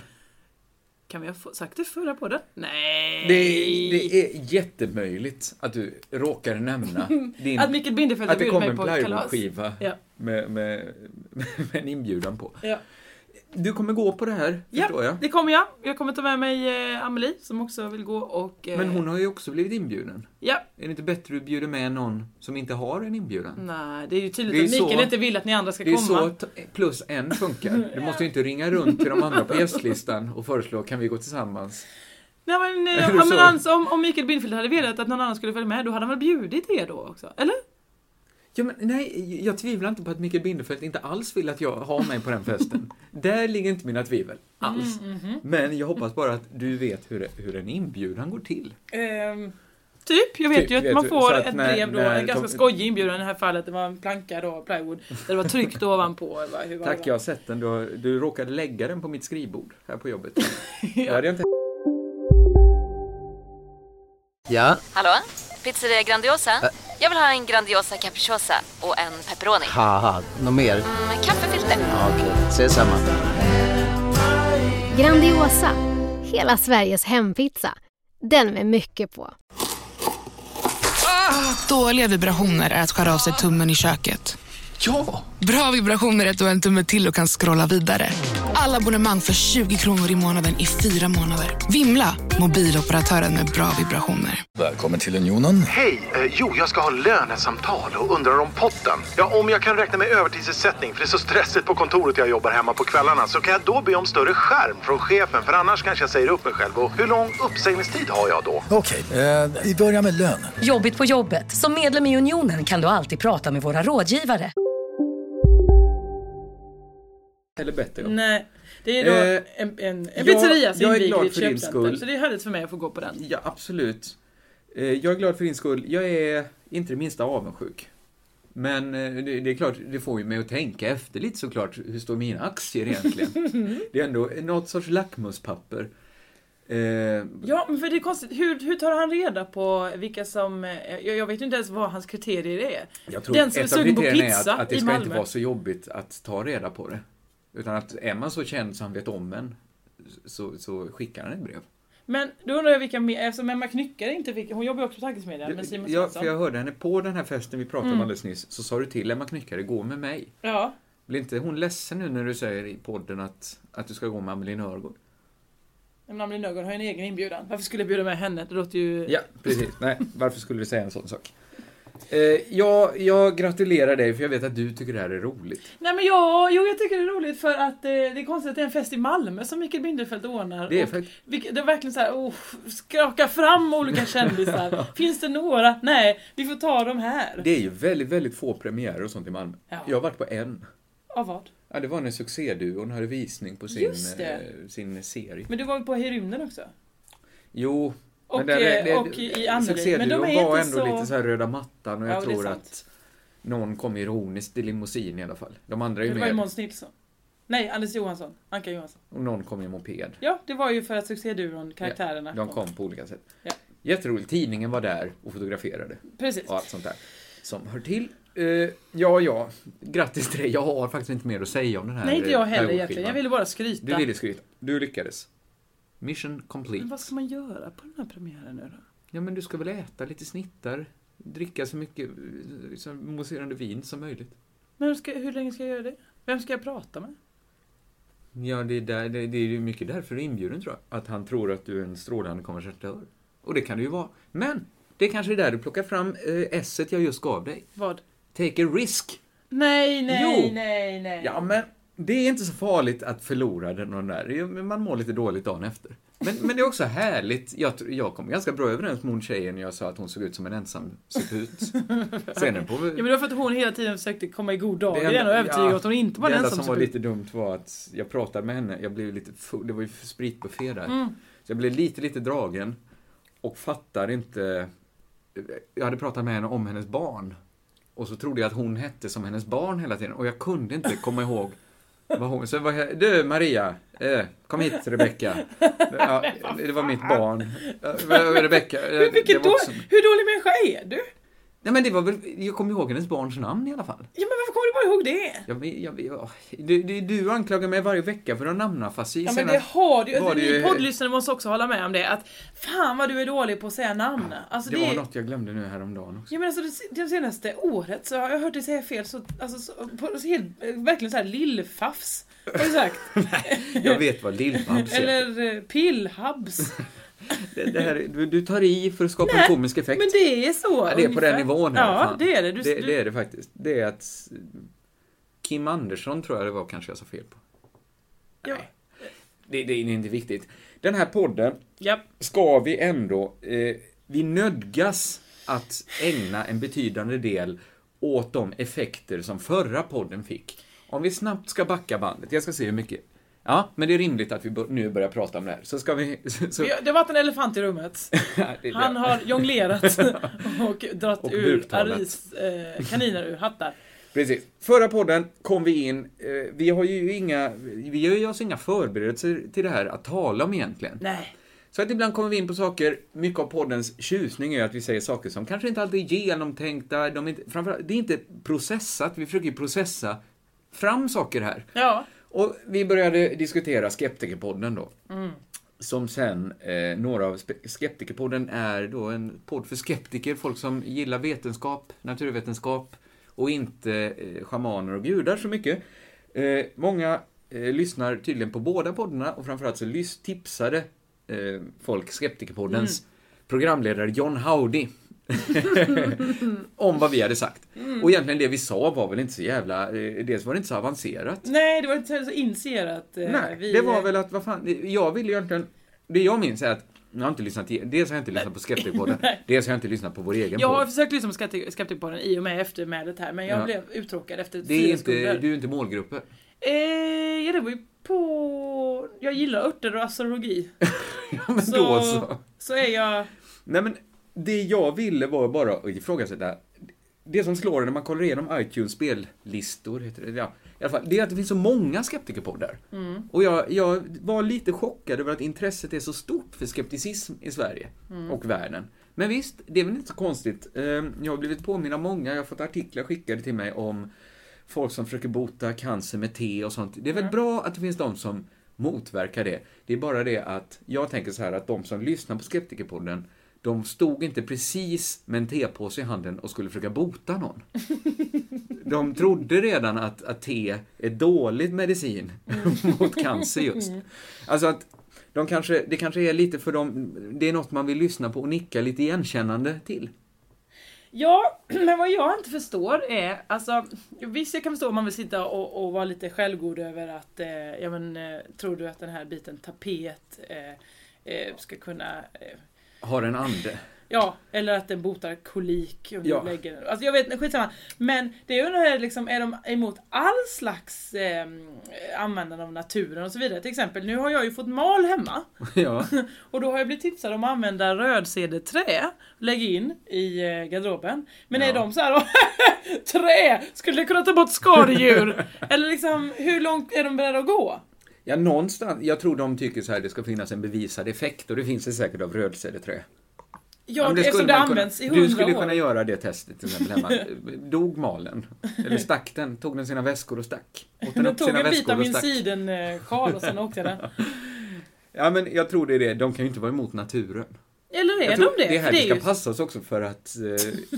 Kan vi ha f- sagt det i förra podden? Nej! Det, det är jättemöjligt att du råkar nämna din, Att Mikael Bindefeld har att det bjudit kom mig en på ett kalas. plywoodskiva Ja. med, med, med en inbjudan på. Ja. Du kommer gå på det här, förstår ja, jag. det kommer jag. Jag kommer ta med mig eh, Amelie som också vill gå och... Eh, Men hon har ju också blivit inbjuden. Ja. Är det inte bättre att du bjuder med någon som inte har en inbjudan? Nej, det är ju Det är tydligt ju att Mikael så- inte vill att ni andra ska Det är ju Mm. komma. så t- plus en funkar. Du måste ju inte ringa runt till de andra på gästlistan och föreslå, kan vi gå tillsammans? Nej men, eh, Är det ja, men så? alltså, om, om Mikael Bindefeld hade velat att någon annan skulle följa med, då hade han väl bjudit er då också? Eller? Ja, men, nej, jag tvivlar inte på att Mikael Bindefeldt inte alls vill att jag har mig på den festen. Där ligger inte mina tvivel. Alls. Men jag hoppas bara att du vet hur, hur en inbjudan går till. Typ, jag vet Typ, ju att vet man du. får Så att ett när- brev då, när en de- ganska skojig inbjudan i det här fallet, det var en planka då, plywood, där det var tryckt ovanpå. va, Hur var Tack, det? jag har sett den. Du, har- du råkade lägga den på mitt skrivbord här på jobbet. Det hade jag inte... Ja, Hallå? Pizzeria Grandiosa? Jag vill ha en Grandiosa capriciosa och en pepperoni. haha, något mer? Med kaffefilter. Ja, Okej, ses samma. Grandiosa, hela Sveriges hempizza. Den med mycket på. Dåliga vibrationer är att skära av sig tummen i köket. Ja! Bra vibrationer är att du har en tumme till och kan scrolla vidare. Alla abonnemang för 20 kronor i månaden i fyra månader. Vimla! Mobiloperatören med bra vibrationer. Välkommen till Unionen. Hej! Eh, jo, jag ska ha lönesamtal och undrar om potten. Ja, om jag kan räkna med övertidsersättning för det är så stressigt på kontoret jag jobbar hemma på kvällarna så kan jag då be om större skärm från chefen för annars kanske jag säger upp mig själv. Och hur lång uppsägningstid har jag då? Okej, eh, vi börjar med lön. Jobbigt på jobbet. Som medlem i Unionen kan du alltid prata med våra rådgivare. Eller bättre. då. Nej, det är då Eh, en, en, en ja, pizzeria som jag är inviger glad i ett för din köpcenter, skull. så det är härligt för mig att få gå på den. Ja, absolut. Eh, Jag är glad för din skull. Jag är inte det minsta avundsjuk. Men eh, det det är klart, det får ju mig att tänka efter lite såklart. Hur står mina aktier egentligen? Det är ändå något sorts lackmuspapper. Eh, Ja, men för det är konstigt, hur, hur tar han reda på vilka som, eh, jag, jag vet ju inte ens vad hans kriterier är. Jag tror den som är ett av sugen på kriterierna pizza är att, att det i ska Malmö. inte vara så jobbigt att ta reda på det. Utan att är man så känd så han vet om en, så, så skickar han ett brev. Men då undrar jag vilka, mer- eftersom Emma Knyckare inte fick, hon jobbar ju också på tankesmedjan med Simon ja, Svensson. Mm. för jag hörde henne på den här festen vi pratade om alldeles nyss, så sa du till Emma Knyckare, gå med mig. Ja. Blir inte hon ledsen nu när du säger i podden att, att du ska gå med Amelie Nörgård? Men Amelie Nörgård har ju en egen inbjudan. Varför skulle jag bjuda med henne? Det låter ju... Ja, precis. Nej, varför skulle du säga en sån sak? Eh, ja, jag gratulerar dig för jag vet att du tycker det här är roligt. Nej men ja, jo jag tycker det är roligt för att eh, det är konstigt att det är en fest i Malmö som Mikael Binderfeld ordnar. Det är Och fakt- vilk- det är verkligen så här, oh, skaka fram olika kändisar. Finns det några? Nej, vi får ta dem här. Det är ju väldigt, väldigt få premiärer och sånt i Malmö. Ja. Jag har varit på en. Av vad? Ja, det var när succéduon hade visning på sin, Just det. eh, sin serie. Men du var väl på i rymden också? Jo, Och, där- eh, och i Annelie. Men de Succéduon är var inte ändå så- lite så här röda mattan och Ja, jag det är tror sant. att någon kom ironiskt i limousin i alla fall. De andra är ju Det var ju mer... Måns Nilsson. Nej, Anders Johansson. Anka Johansson. Och någon kom i moped. Ja, det var ju för att succéduon, karaktärerna. Ja, de kom på olika sätt. Ja. Jätteroligt. Tidningen var där och fotograferade. Precis. Och allt sånt där. Som hör till. Eh, ja, ja. Grattis till dig. Jag har faktiskt inte mer att säga om den här Nej, inte jag eh, heller egentligen. periodskivan. Jag ville bara skryta. Du ville skryta. Du lyckades. Mission complete. Men vad ska man göra på den här premiären nu då? Ja, men du ska väl äta lite snittar? Dricka så mycket eh, så mousserande vin som möjligt. Men hur, ska, hur länge ska jag göra det? Vem ska jag prata med? Ja, det är, där, det, det är ju mycket därför du är inbjuden tror jag. Att han tror att du är en strålande konversatör. Och det kan du ju vara. Men det kanske är där du plockar fram eh, esset jag just gav dig. Vad? Take a risk. Nej, nej, Jo. nej, nej. Ja, men det är inte så farligt att förlora den och den där. Det är- Man mår lite dåligt dagen efter. Men, men det är också härligt. Jag, tr- jag kom ganska bra överens med hon tjejen när jag sa att hon såg ut som en ensam suput. Senare på... Ja, men det var för att hon hela tiden försökte komma i god dag Det igen och enda- övertyga ja, att hon inte var Det den enda som som var skulle- lite dumt var att jag pratade med henne, jag blev lite full, det var ju spritbuffé där. Mm. Så jag blev lite, lite dragen och fattade inte. Jag hade pratat med henne om hennes barn. Och så trodde jag att hon hette som hennes barn hela tiden och jag kunde inte komma ihåg vad hon... Så var jag, du Maria, eh, kom hit Rebecka. Ja, det var mitt barn. Eh, Rebecka. eh, Hur, det vilken var då, också- hur dålig människa är du? Nej men det var väl, jag kommer ihåg hennes barns namn i alla fall. Ja, men varför kommer du bara ihåg det? Jag, vet- jag, vet- åh, du, du, du anklagar mig varje vecka för att ha namnafasi. Ja men Senast det har du var ju. det Ni ju- poddlyssnare måste också hålla med om det. Att fan vad du är dålig på att säga namn. Alltså, det det var är- något jag glömde nu häromdagen också. Ja men alltså det, det senaste året så har jag hört dig säga fel så, alltså, så, på, så helt, eh, verkligen såhär lillfafs. Har du sagt. Jag vet vad Lill-Babs heter. Eller eh, pillhabs. Det- det här är- du, du tar i för att skapa Nej, en komisk effekt. Men det är så. ja, det är på den ungefär. nivån här. Ja fan. det är det. Du, det. du, Det är det faktiskt. Det är att Kim Andersson tror jag det var kanske jag sa fel på. Ja. Det, det är inte viktigt. Den här podden Japp. ska vi ändå, eh, vi nödgas att ägna en betydande del åt de effekter som förra podden fick. Om vi snabbt ska backa bandet, jag ska se hur mycket. Ja, men det är rimligt att vi bör, nu börjar prata om det här. Så ska vi... Så, så, Vi- Det har varit en elefant i rummet. det- Han har jonglerat och dratt Och ur buktalat. Aris eh, kaniner ur hattar. Precis. Förra podden kom vi in, eh, vi har ju inga, vi gör ju oss inga förberedelser till det här att tala om egentligen. Nej. Så att ibland kommer vi in på saker, mycket av poddens tjusning är att vi säger saker som kanske inte alltid är genomtänkta, de är inte, framförallt, det är inte processat, vi försöker ju processa fram saker här. Ja. Och vi började diskutera Skeptikerpodden då. Som sen, eh, några av spe- Skeptikerpodden är då en podd för skeptiker, folk som gillar vetenskap, naturvetenskap och inte eh, schamaner och gudar så mycket. Eh, många eh, lyssnar tydligen på båda poddarna och framförallt så lys- tipsade eh, folk Skeptikerpoddens programledare John Howdy om vad vi hade sagt. Mm. Och egentligen det vi sa var väl inte så jävla, eh, dels var det inte så avancerat. Nej, det var inte så initierat. eh, Nej, vi- det var väl att, vad fan, jag ville ju egentligen, det jag minns är att jag har inte lyssnat, dels har jag inte lyssnat på Skeptikpodden, Nej. dels har jag inte lyssnat på vår egen Jag har podd. försökt lyssna på Skepti- Skeptikpodden i och med eftermälet här men jag Ja. blev uttråkad efter Det är fyra inte, sekunder. du är inte målgruppen. Eh, ja, det var ju på... Jag gillar örter och astrologi. men så, då så. Så är jag... Nej men, det jag ville var bara att ifrågasätta, det som slår en när man kollar igenom iTunes spellistor, heter det, ja, i alla fall, det är att det finns så många Skeptikerpoddar. Mm. Och jag, jag var lite chockad över att intresset är så stort för skepticism i Sverige Mm. och världen. Men visst, det är väl inte så konstigt. Ehm, Jag har blivit påminna av många, jag har fått artiklar skickade till mig om folk som försöker bota cancer med te och sånt. Det är väl bra att det finns de som motverkar det. Det är bara det att jag tänker så här att de som lyssnar på Skeptikerpodden, de stod inte precis med en tepåse i handen och skulle försöka bota någon. De trodde redan att, att te är dålig medicin mot cancer just. Mm. Alltså att de kanske, det kanske är lite för dem, det är något man vill lyssna på och nicka lite igenkännande till. Ja, men vad jag inte förstår är, alltså visst jag kan förstå om man vill sitta och, och vara lite självgod över att, eh, ja men eh, tror du att den här biten tapet eh, eh, ska kunna, eh, Har en ande. ja, eller att den botar kolik om Ja. du lägger den. Alltså jag vet, skitsamma. Men det jag undrar är liksom, är de emot all slags eh, användande av naturen och så vidare? Till exempel, nu har jag ju fått mal hemma. Ja. Och då har jag blivit tipsad om att använda rödsedeträ, lägg in i eh, garderoben. Men är de så här då, Trä! Skulle det kunna ta bort skadedjur? Eller liksom, hur långt är de beredda att gå? Ja, någonstans. Jag tror de tycker så här, det ska finnas en bevisad effekt och det finns det säkert av rödselleträ. Ja, men eftersom skulle det man kunna- används i Du hundra skulle år. kunna göra det testet till exempel hemma. Dog malen? Eller stack den? Tog den sina väskor och stack? Åt den De upp tog sina en bit väskor av och min stack? sidensjal och sen åkte jag den. Ja, men jag tror det är det. De kan ju inte vara emot naturen. Eller är jag tror de det? Det är här För vi ska ju- passa oss också för att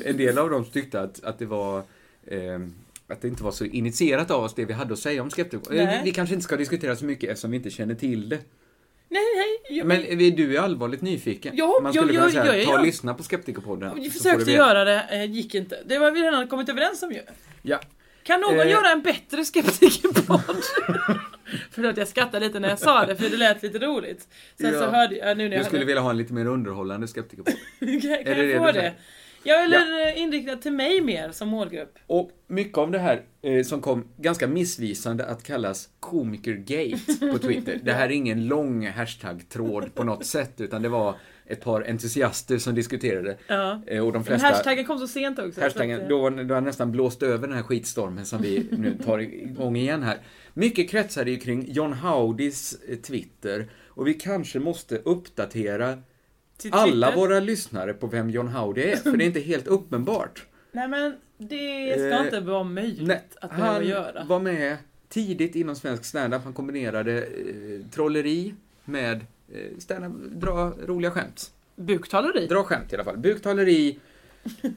eh, en del av dem tyckte att, att det var eh, att det inte var så initierat av oss det vi hade att säga om skeptiker. Eh, Nej. Vi kanske inte ska diskutera så mycket eftersom vi inte känner till det. Nej, nej. Jag, Men vi- du är allvarligt nyfiken. Ja, Man ja, skulle kunna ja, säga, ja, ja, ta ja. och lyssna på Skeptikerpodden. så jag får försökte du veta. göra det, eh, gick inte. Det var vi redan kommit överens om ju. Ja. Kan någon Eh. göra en bättre skeptikerpodd? Förlåt, jag skrattade lite när jag sa det för det lät lite roligt. Sen så Ja. hörde jag nu när jag Du skulle hörde- vilja ha en lite mer underhållande Skeptikerpodd. kan, Är det kan det jag få du det? säger? Ja, eller ja. inriktad till mig mer som målgrupp. Och mycket av det här eh, som kom ganska missvisande att kallas komikergate på Twitter. Det här är ingen lång hashtag-tråd på något sätt, utan det var ett par entusiaster som diskuterade. Ja. Eh, och de Men flesta... hashtaggen kom så sent också. så att, Hashtaggen, eh, då, var- då har nästan blåst över den här skitstormen som vi nu tar igång igen här. Mycket kretsade ju kring John Howdys eh, Twitter och vi kanske måste uppdatera Till alla Twitter? våra lyssnare på vem John Howdy är, för det är inte helt uppenbart. Nej men det ska Eh, inte vara möjligt nej, att behöva Han göra. var med tidigt inom svensk standup, han kombinerade eh, trolleri med eh, standup, dra roliga skämt. Buktaleri? Dra skämt i alla fall. Buktaleri,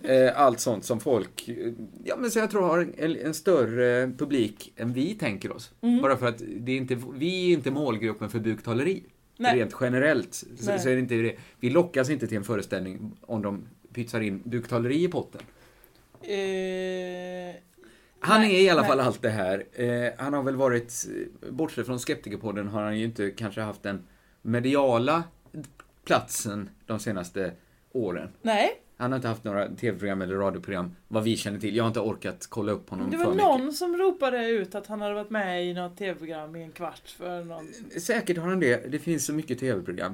eh, allt sånt som folk, eh, ja men så jag tror har en, en större publik än vi tänker oss. Mm. Bara för att det är inte, vi är inte målgruppen för buktaleri. Nej. Rent generellt så, Nej. så är det inte det. Vi lockas inte till en föreställning om de pytsar in buktaleri i potten. Eh, Han Nej, är i alla nej. fall allt det här. Eh, han har väl varit, eh, bortsett från Skeptikerpodden, har han ju inte kanske haft den mediala platsen de senaste åren. nej, Han har inte haft några tv-program eller radioprogram, vad vi känner till. Jag har inte orkat kolla upp honom det för var mycket. någon som ropade ut att han hade varit med i något tv-program i en kvart för någon... Säkert har han det. Det finns så mycket tv-program.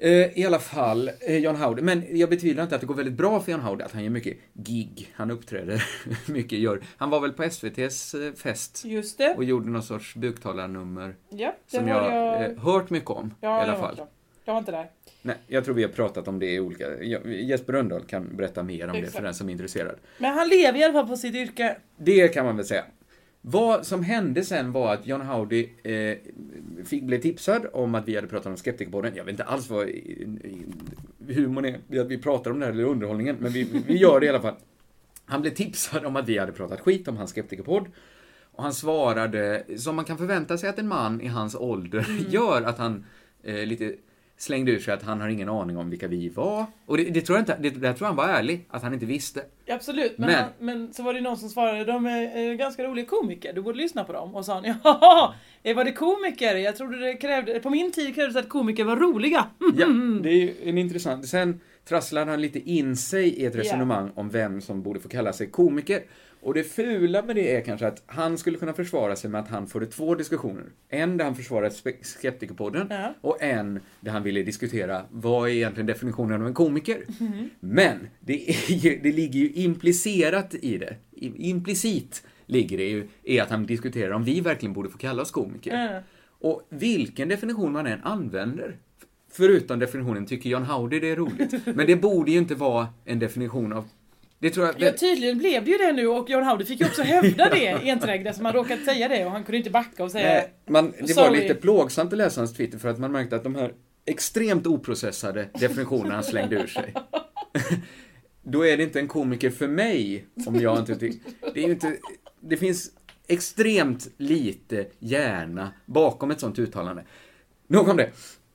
Eh, I alla fall, eh, John Howard. Men jag betvivlar inte att det går väldigt bra för John Howard, att han gör mycket gig. Han uppträder mycket, gör. Han var väl på SVT's eh, fest Just det. och gjorde någon sorts buktalarnummer. Ja, det som har jag... jag, eh, hört mycket om ja, i alla jag fall. vet det. Jag var inte där. Nej, jag tror vi har pratat om det i olika... Jag- Jesper Rönndahl kan berätta mer om det Exakt. för den som är intresserad. Men han lever i alla fall på sitt yrke. Det kan man väl säga. Vad som hände sen var att John Howdy eh, fick, blev tipsad om att vi hade pratat om Skeptikerpodden. Jag vet inte alls vad i- i- humorn är, i att vi pratar om det här, eller underhållningen, men vi, vi gör det i alla fall. Han blev tipsad om att vi hade pratat skit om hans Skeptikerpodd. Och han svarade, som man kan förvänta sig att en man i hans ålder gör, att han eh, lite slängde ur sig att han har ingen aning om vilka vi var. Och det, det tror jag inte, det, det tror jag han var ärlig, att han inte visste. Absolut, men, Men- Han, men så var det någon som svarade de är eh, ganska roliga komiker, du borde lyssna på dem. Och sa han jaha, eh, var det komiker? Jag trodde det krävde, på min tid krävdes att komiker var roliga. Ja, Mm. det är ju en intressant. Sen trasslar han lite in sig i ett Ja. resonemang om vem som borde få kalla sig komiker. Och det fula med det är kanske att han skulle kunna försvara sig med att han förde två diskussioner. En där han försvarade spe- Skeptikerpodden Ja. och en där han ville diskutera vad är egentligen definitionen av en komiker? Mhm. Men det, är ju, det ligger ju implicerat i det. I- Implicit ligger det ju i att han diskuterar om vi verkligen borde få kalla oss komiker. Mm. Och vilken definition man än använder, förutom definitionen tycker John Howdy det är roligt. Men det borde ju inte vara en definition av... Det tror jag... Ja, tydligen blev det ju det nu och John Howdy fick ju också hävda det enträget eftersom han råkat säga det och han kunde inte backa och säga Nej, man, det var Sorry. lite plågsamt att läsa hans Twitter för att man märkte att de här extremt oprocessade definitionerna han slängde ur sig. Då är det inte en komiker för mig om jag inte tycker... Det är ju inte... Det finns extremt lite hjärna bakom ett sånt uttalande. Nog om det.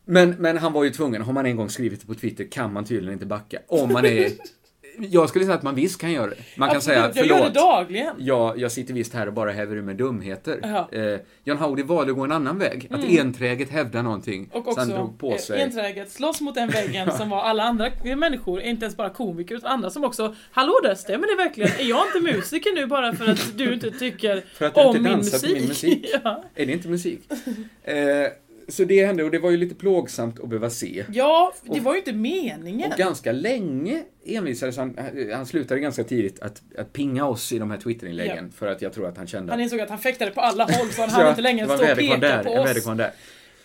Men, men han var ju tvungen, har man en gång skrivit det på Twitter kan man tydligen inte backa. Om man är... Jag skulle säga att man visst kan göra det. Man kan Absolut, säga jag gör det förlåt. dagligen. Ja, jag sitter visst här och bara häver ur mig dumheter. Ja. Eh, John Howdy valde att gå en annan väg. Att Mm. enträget hävda någonting. Och så han också drog på eh, sig. enträget slåss mot den väggen som var alla andra människor, inte ens bara komiker utan andra som också Hallå där, stämmer det verkligen? Är jag inte musiker nu bara för att du inte tycker För att du om inte min dansar musik? till min musik. ja. Är det inte musik? Eh, så det hände och det var ju lite plågsamt att behöva se. Ja, det var ju inte meningen. Och ganska länge envisades han, eh, han slutade ganska tidigt att, att pinga oss i de här Twitterinläggen Ja. för att jag tror att han kände Han att... insåg att han fäktade på alla håll så han Ja, hann inte längre det var en stå och peka väderkvarn där, på en oss. väderkvarn där.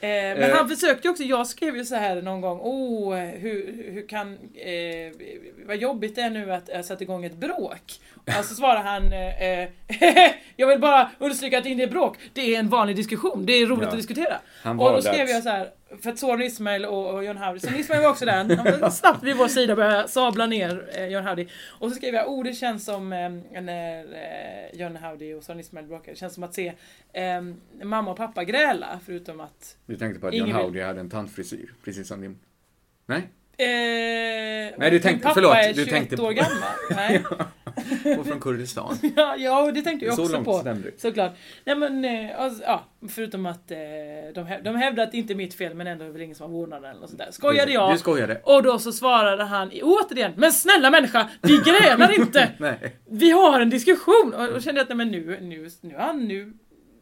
Eh, men Eh. han försökte ju också, jag skrev ju så här någon gång, oh, hur, hur kan, eh, vad jobbigt det är nu att eh, sätta igång ett bråk. Alltså svarar han, eh, eh, jag vill bara understryka att det inte är bråk, det är en vanlig diskussion, det är roligt Ja. att diskutera. Han och då valde skrev att- jag så här, för att såren Ismail och, och John Howdy, så Ismail var också där, han var snabbt vid vår sida och började sabla ner eh, John Howdy. Och så skrev jag, oh det känns som eh, när eh, John Howdy och Soran Ismail bråkar, det känns som att se eh, mamma och pappa gräla, förutom att Du tänkte på att Ingen John vill- Howdy hade en tantfrisyr, precis som din. Nej? Eh, du min tänkte- pappa förlåt, är du 21 tänkte på- år gammal. Nej. Och från Kurdistan. ja, ja, och det tänkte jag Så också långt på. stämde det. Såklart. Nej, men, eh, alltså, ja, förutom att eh, de, häv, de hävdade att det inte är mitt fel men ändå är det väl ingen som har vårdnaden eller något sånt där. Skojade jag. Du skojade. Och då så svarade han i- återigen, men snälla människa, vi grälar inte! Nej. Vi har en diskussion! Och då kände jag att nej, men nu, nu, nu, är han nu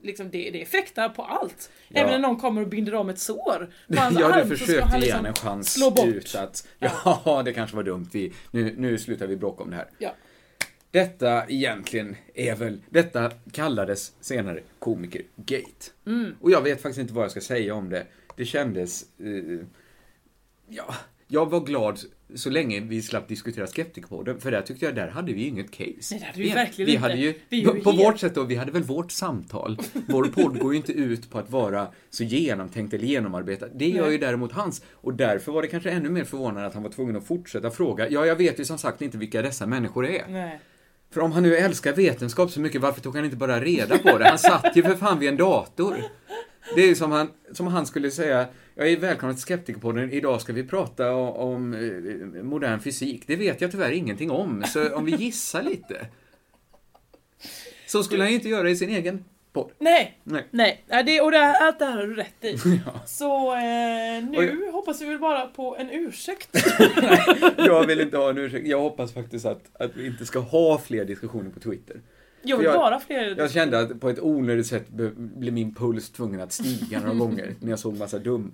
Liksom det, det fäktar på allt. Ja. Även när någon kommer och binder om ett sår. på hans Ja, arm du så ska försökte han ge henne en liksom chans slå bort. ut att ja, det kanske var dumt. Vi, nu, nu slutar vi bråka om det här. Ja. Detta egentligen är väl, detta kallades senare komikergate. Mm. Och jag vet faktiskt inte vad jag ska säga om det. Det kändes, eh, ja, jag var glad så länge vi slapp diskutera skeptikerpodden, för där tyckte jag, där hade vi ju inget case. Nej, det hade vi verkligen vi inte. Hade ju, Vi är ju på på helt- vårt sätt då, vi hade väl vårt samtal. Vår podd går ju inte ut på att vara så genomtänkt eller genomarbetad. Det gör Nej. ju däremot hans. Och därför var det kanske ännu mer förvånande att han var tvungen att fortsätta fråga. Ja, jag vet ju som sagt inte vilka dessa människor är. Nej. För om han nu älskar vetenskap så mycket, varför tog han inte bara reda på det? Han satt ju för fan vid en dator. Det är ju som han, som han skulle säga, jag är välkommen till Skeptikerpodden, idag ska vi prata o- om eh, modern fysik. Det vet jag tyvärr ingenting om, så om vi gissar lite. Så skulle han ju inte göra i sin egen podd. Nej, Nej. nej. Ja, det, och det, här- allt det här har du rätt i. Så eh, Och nu jag- hoppas vi väl bara på en ursäkt. Jag vill inte ha en ursäkt. Jag hoppas faktiskt att, att vi inte ska ha fler diskussioner på Twitter. Jag För vill bara fler... Jag kände att på ett onödigt sätt be- blev min puls tvungen att stiga några gånger när jag såg massa dum,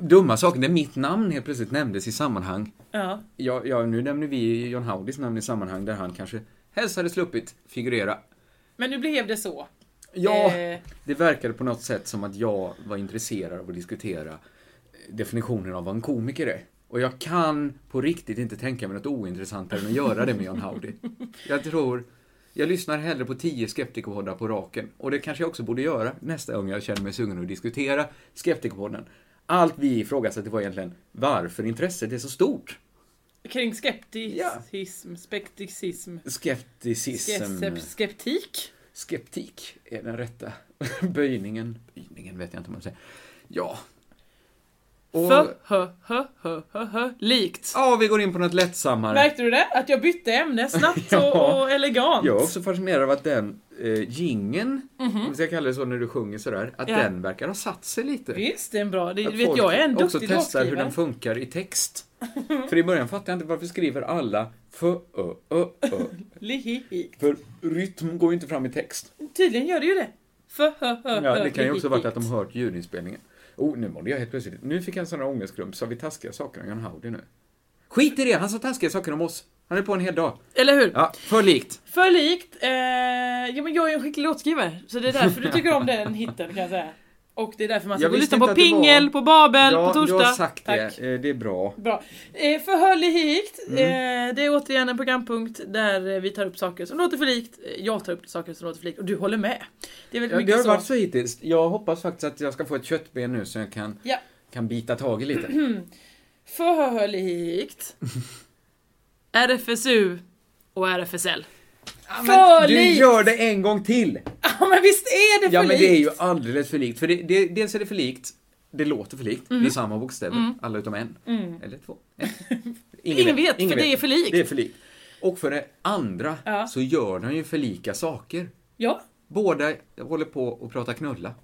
dumma saker. När mitt namn helt plötsligt nämndes i sammanhang. Ja. Ja, ja, nu nämner vi John Howdys namn i sammanhang där han kanske helst hade sluppit figurera. Men nu blev det så. Ja, Eh, det verkade på något sätt som att jag var intresserad av att diskutera eh, definitionen av vad en komiker är. Och jag kan på riktigt inte tänka mig något ointressantare än att göra det med John Howdy. Jag tror, jag lyssnar hellre på tio skeptikerpoddar på raken. Och det kanske jag också borde göra nästa gång jag känner mig sugen att diskutera skeptikerpodden. Allt vi ifrågasatte var egentligen varför intresset är så stort. kring skepticism, spekticism, Skepticism. skep- skeptik. Skeptik är den rätta böjningen. Böjningen vet jag inte om man säger. Ja. Och- För, hö, hö, hö, hö, hö, likt. Ja, vi går in på något lättsammare. Märkte du det? Att jag bytte ämne snabbt och, Ja. och elegant. Jag är också fascinerad av att den eh, gingen, Mhm. om vi ska kalla det så när du sjunger sådär, att Ja. den verkar ha satt sig lite. Visst, det är en bra... Det, Att vet, folk jag är en också duktig testar hur låtskrivare. den funkar i text. För i början fattade jag inte varför skriver alla för ö, ö, ö. Lihihi. För rytm går ju inte fram i text. Tydligen gör det ju det. För, hö, hö, Ja, hö, det kan ju också lihihi. varit att de har hört ljudinspelningen. Oh, nu mådde jag helt plötsligt. Nu fick jag en sån här ångestklump. Sa vi taskiga saker om John Howdy nu? Skit i det! Han sa taskiga saker om oss. Han är på en hel dag. Eller hur? Ja, för likt. För likt. Eh, ja, men jag är ju en skicklig låtskrivare, så det är därför du tycker om den hitten kan jag säga. Och det är därför man ska Jag gå och visste lyssna inte på att det var- Pingel, på Babel, ja, på Torsdag. du har sagt Tack. det. Mm. Eh, Det är bra. Bra. Eh, förhörlig hikt. Eh, det är återigen en programpunkt där eh, vi tar upp saker som låter för likt. Eh, Jag tar upp saker som låter för likt och du håller med. Det är väldigt Ja, det mycket har så. varit så hittills. Jag hoppas faktiskt att jag ska få ett köttben nu så jag kan, Ja. kan bita tag i Mm. lite. förhörlig hikt. RFSU och RFSL. för Du likt! gör det en gång till! Ja men visst är det för Ja men likt? det är ju alldeles för likt. För det, det, dels är det för likt, det låter för likt, Mm. det är samma bokstäver, Mm. alla utom en. Mm. Eller två. Ingen vet, för det är för likt. Det är för likt. Och för det andra Ja. så gör de ju för lika saker. Ja. Båda håller på att prata knulla.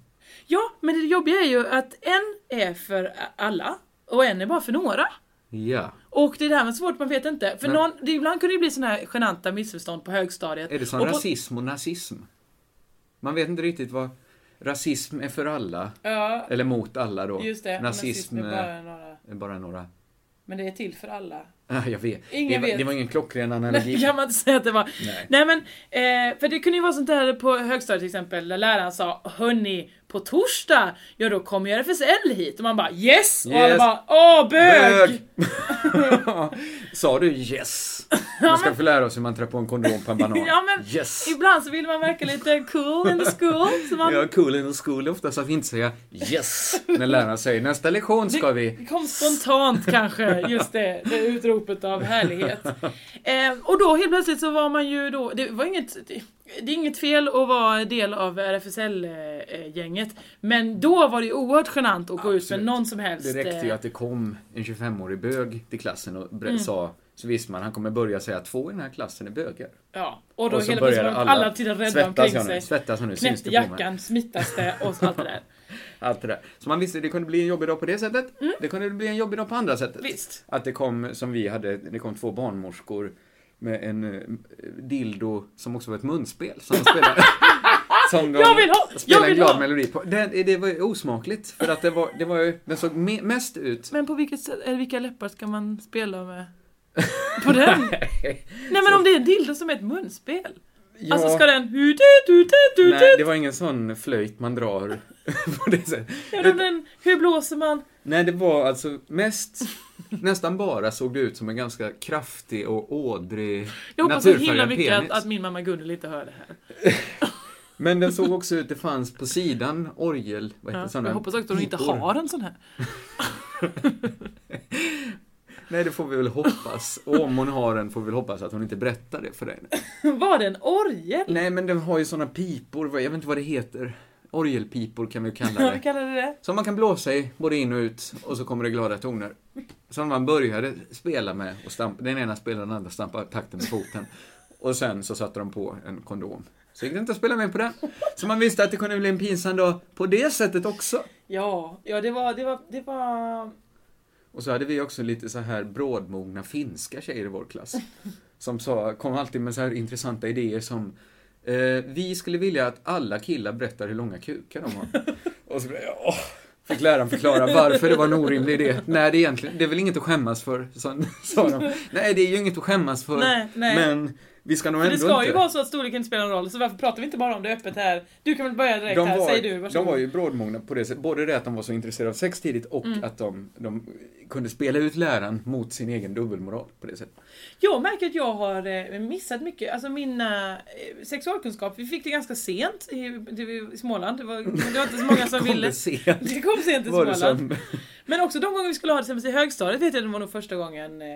Ja, men det jobbiga är ju att en är för alla och en är bara för några. Ja. Och det är det här med svårt, man vet inte. För Men- någon, det, ibland kunde det bli såna här genanta missförstånd på högstadiet. Är det som och på, rasism och nazism? Man vet inte riktigt vad... rasism är för alla. Ja. Eller mot alla då. Just det, och Nazism, nazism är bara eh, några. är bara några. Men det är till för alla. Ah, jag vet. Ingen det, var- vet. det var ingen klockren Nej, analogi. kan man inte säga att det var. Nej. Nej men, eh, för det kunde ju vara sånt där på högstadiet till exempel, där läraren sa Hörni, på torsdag, ja då kommer ju RFSL hit. Och man bara yes! Och alla Yes. bara åh bög! Sa du yes? Man ska få lära oss hur man trär på en kondom på en banan. Ja men, yes! ibland så vill man verka lite cool in the school. Så man, Jag är cool in the school ofta så att vi inte säger yes när läraren säger nästa lektion ska vi. Det kom spontant kanske, just det, det utropet av härlighet. Eh, och då helt plötsligt så var man ju då, det var inget, det, det är inget fel att vara del av RFSL-gänget, men då var det ju oerhört genant att gå ut med någon som helst. Det räckte ju eh, att det kom en 25-årig bög till klassen och bre- Mm. sa så visste man han kommer börja säga två i den här klassen är bögar. eh, Ja, och då Och så helt plötsligt började var alla, alla alla till och med rädda svettas omkring jag nu, sig. svettas jag nu, syns det Knäppte på mig? jackan, smittas det och allt det där. Allt det där. Så man visste det kunde bli en jobbig dag på det sättet. Det kunde bli en jobbig dag på andra sättet. Mm. Visst. Att det kom, som vi hade, det kom två barnmorskor med en eh, dildo som också var ett munspel som de spelade. Som de Jag vill ha! Jag spelade en vill glad ha! melodi på. Det, det var ju osmakligt för att det var, det var ju, den såg me, mest ut Men på vilket sätt, eller vilka läppar ska man spela med? På den? Nej men om det är en dildo som är ett munspel? Ja. Alltså ska den... hutututututut? Nej, det var ingen sån flöjt man drar på det sättet. Ja, då den, hur blåser man? Nej, det var alltså mest, nästan bara såg det ut som en ganska kraftig och ådrig Jag hoppas så himla naturfärgad mycket att, penis. att min mamma Gunnel inte hör det här. Men den såg också ut, det fanns på sidan orgel, vad heter Ja, sådana? jag hoppas också att hon inte pipor. har en sån här. Nej, det får vi väl hoppas. Och om hon har en får vi väl hoppas att hon inte berättar det för dig. Var det en orgel? Nej, men den har ju såna pipor, vad- jag vet inte vad det heter. Orgelpipor kan vi kalla Vad det. kallar du det? Som man kan blåsa i, både in och ut, och så kommer det glada toner. Som man började spela med, och stampa, den ena spelade den andra stampade takten med foten. Och sen så satte de på en kondom. Så gick det inte att spela med på det. Så man visste att det kunde bli en pinsam dag på det sättet också. Ja, ja det var... Det var, det var... Och så hade vi också lite så här brådmogna finska tjejer i vår klass. Som sa, kom alltid med så här intressanta idéer som eh, Vi skulle vilja att alla killar berättar hur långa kukar de har. Och så blev jag, åh! Fick läraren förklara varför det var en orimlig idé. Nej, det är, egentligen, det är väl inget att skämmas för, sa, sa de. Nej, det är ju inget att skämmas för. Nej, nej. Men vi ska nog För ändå det ska inte. ju vara så att storleken inte spelar någon roll, så varför pratar vi inte bara om det öppet här? Du kan väl börja direkt de här, var, säg du. de varsågod. var ju brådmogna på det sättet. Både det att de var så intresserade av sex tidigt och Mm. att de, de kunde spela ut läraren mot sin egen dubbelmoral på det sättet. Jag märker att jag har eh, missat mycket. Alltså min eh, sexualkunskap, vi fick det ganska sent i, i, i Småland. Det var, det var inte så många som Kom ville. det sent? Det kom sent i Var det Småland. som- Men också de gånger vi skulle ha det i högstadiet vet jag det var nog första gången eh,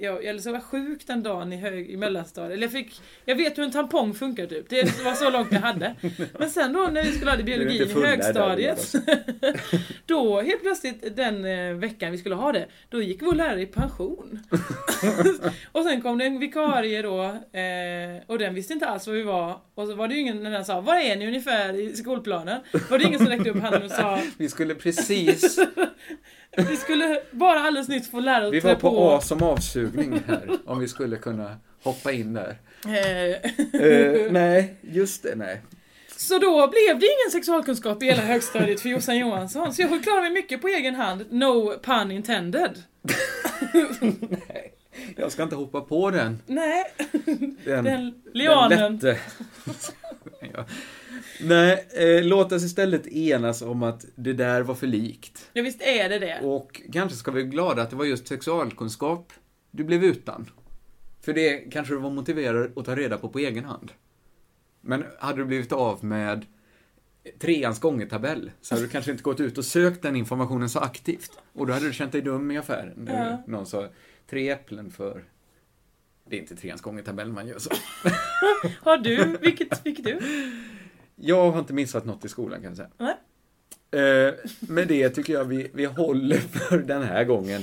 jag, jag liksom var sjuk den dagen i, hög, i mellanstadiet. Eller jag, fick, jag vet hur en tampong funkar typ. Det var så långt jag hade. Men sen då när vi skulle ha det i Nu är du biologi inte i full där, alltså. högstadiet. Då helt plötsligt den eh, veckan vi skulle ha det, då gick vår lärare i pension. och sen kom det en vikarie då eh, och den visste inte alls var vi var. Och så var det ju ingen när den sa var är ni ungefär i skolplanen? Var det ingen som räckte upp handen och sa Vi skulle precis, vi skulle bara alldeles nyss få lära oss vi trä var på A som avsugning här, om vi skulle kunna hoppa in där. Eh, Eh, nej, just det, nej. Så då blev det ingen sexualkunskap i hela högstadiet för Jossan Johansson. Så jag klarar mig mycket på egen hand. No pun intended. Jag ska inte hoppa på den. Nej. Den, Den lianen. lätte. ja. Nej, eh, låt oss istället enas om att det där var för likt. Ja visst är det det. Och kanske ska vi vara glada att det var just sexualkunskap du blev utan. För det kanske du var motiverad att ta reda på på egen hand. Men hade du blivit av med treans gångertabell så hade du kanske inte gått ut och sökt den informationen så aktivt. Och då hade du känt dig dum i affären. när Ja. Någon sa tre äpplen för... Det är inte treans gångertabell man gör så. Har du? Vilket fick du? Jag har inte missat något i skolan kan jag säga. Nej. Eh, med det tycker jag vi, vi håller för den här gången.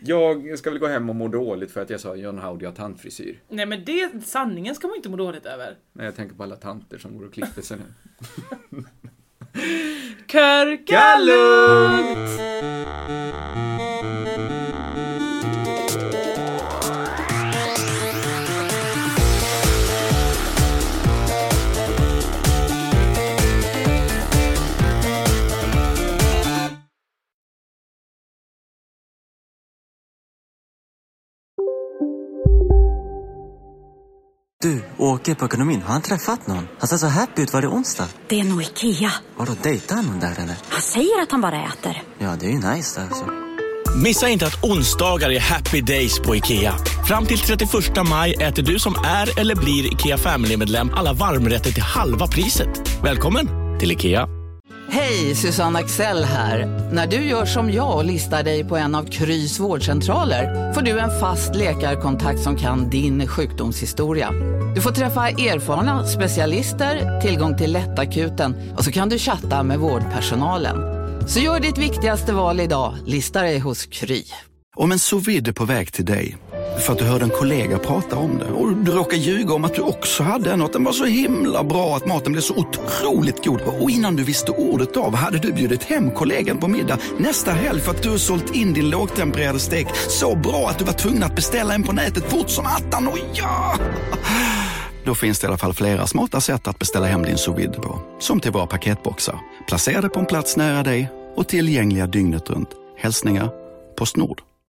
Jag ska väl gå hem och må dåligt för att jag sa John Howdy har tandfrisyr. Nej men det, sanningen ska man inte må dåligt över. När jag tänker på alla tanter som går och klipper sig nu. Körka lugnt! Åke på ekonomin, har han träffat någon? Han ser så happy ut. Var det onsdag? Det är nog Ikea. Vadå, dejtar han någon där eller? Han säger att han bara äter. Ja, det är ju nice där alltså. Missa inte att onsdagar är happy days på IKEA. Fram till 31 maj äter du som är eller blir IKEA Family-medlem alla varmrätter till halva priset. Välkommen till IKEA. Hej, Susanne Axel här. När du gör som jag och listar dig på en av Krys vårdcentraler får du en fast läkarkontakt som kan din sjukdomshistoria. Du får träffa erfarna specialister, tillgång till lättakuten och så kan du chatta med vårdpersonalen. Så gör ditt viktigaste val idag, lista dig hos Kry. Om en sous vide är på väg till dig för att du hörde en kollega prata om det och du råkade ljuga om att du också hade en och att den var så himla bra att maten blev så otroligt god och innan du visste ordet av hade du bjudit hem kollegan på middag nästa helg för att du sålt in din lågtempererade stek så bra att du var tvungen att beställa en på nätet fort som attan. Och ja! Då finns det i alla fall flera smarta sätt att beställa hem din sous vide på. Som till våra paketboxar. Placerade på en plats nära dig och tillgängliga dygnet runt. Hälsningar Postnord.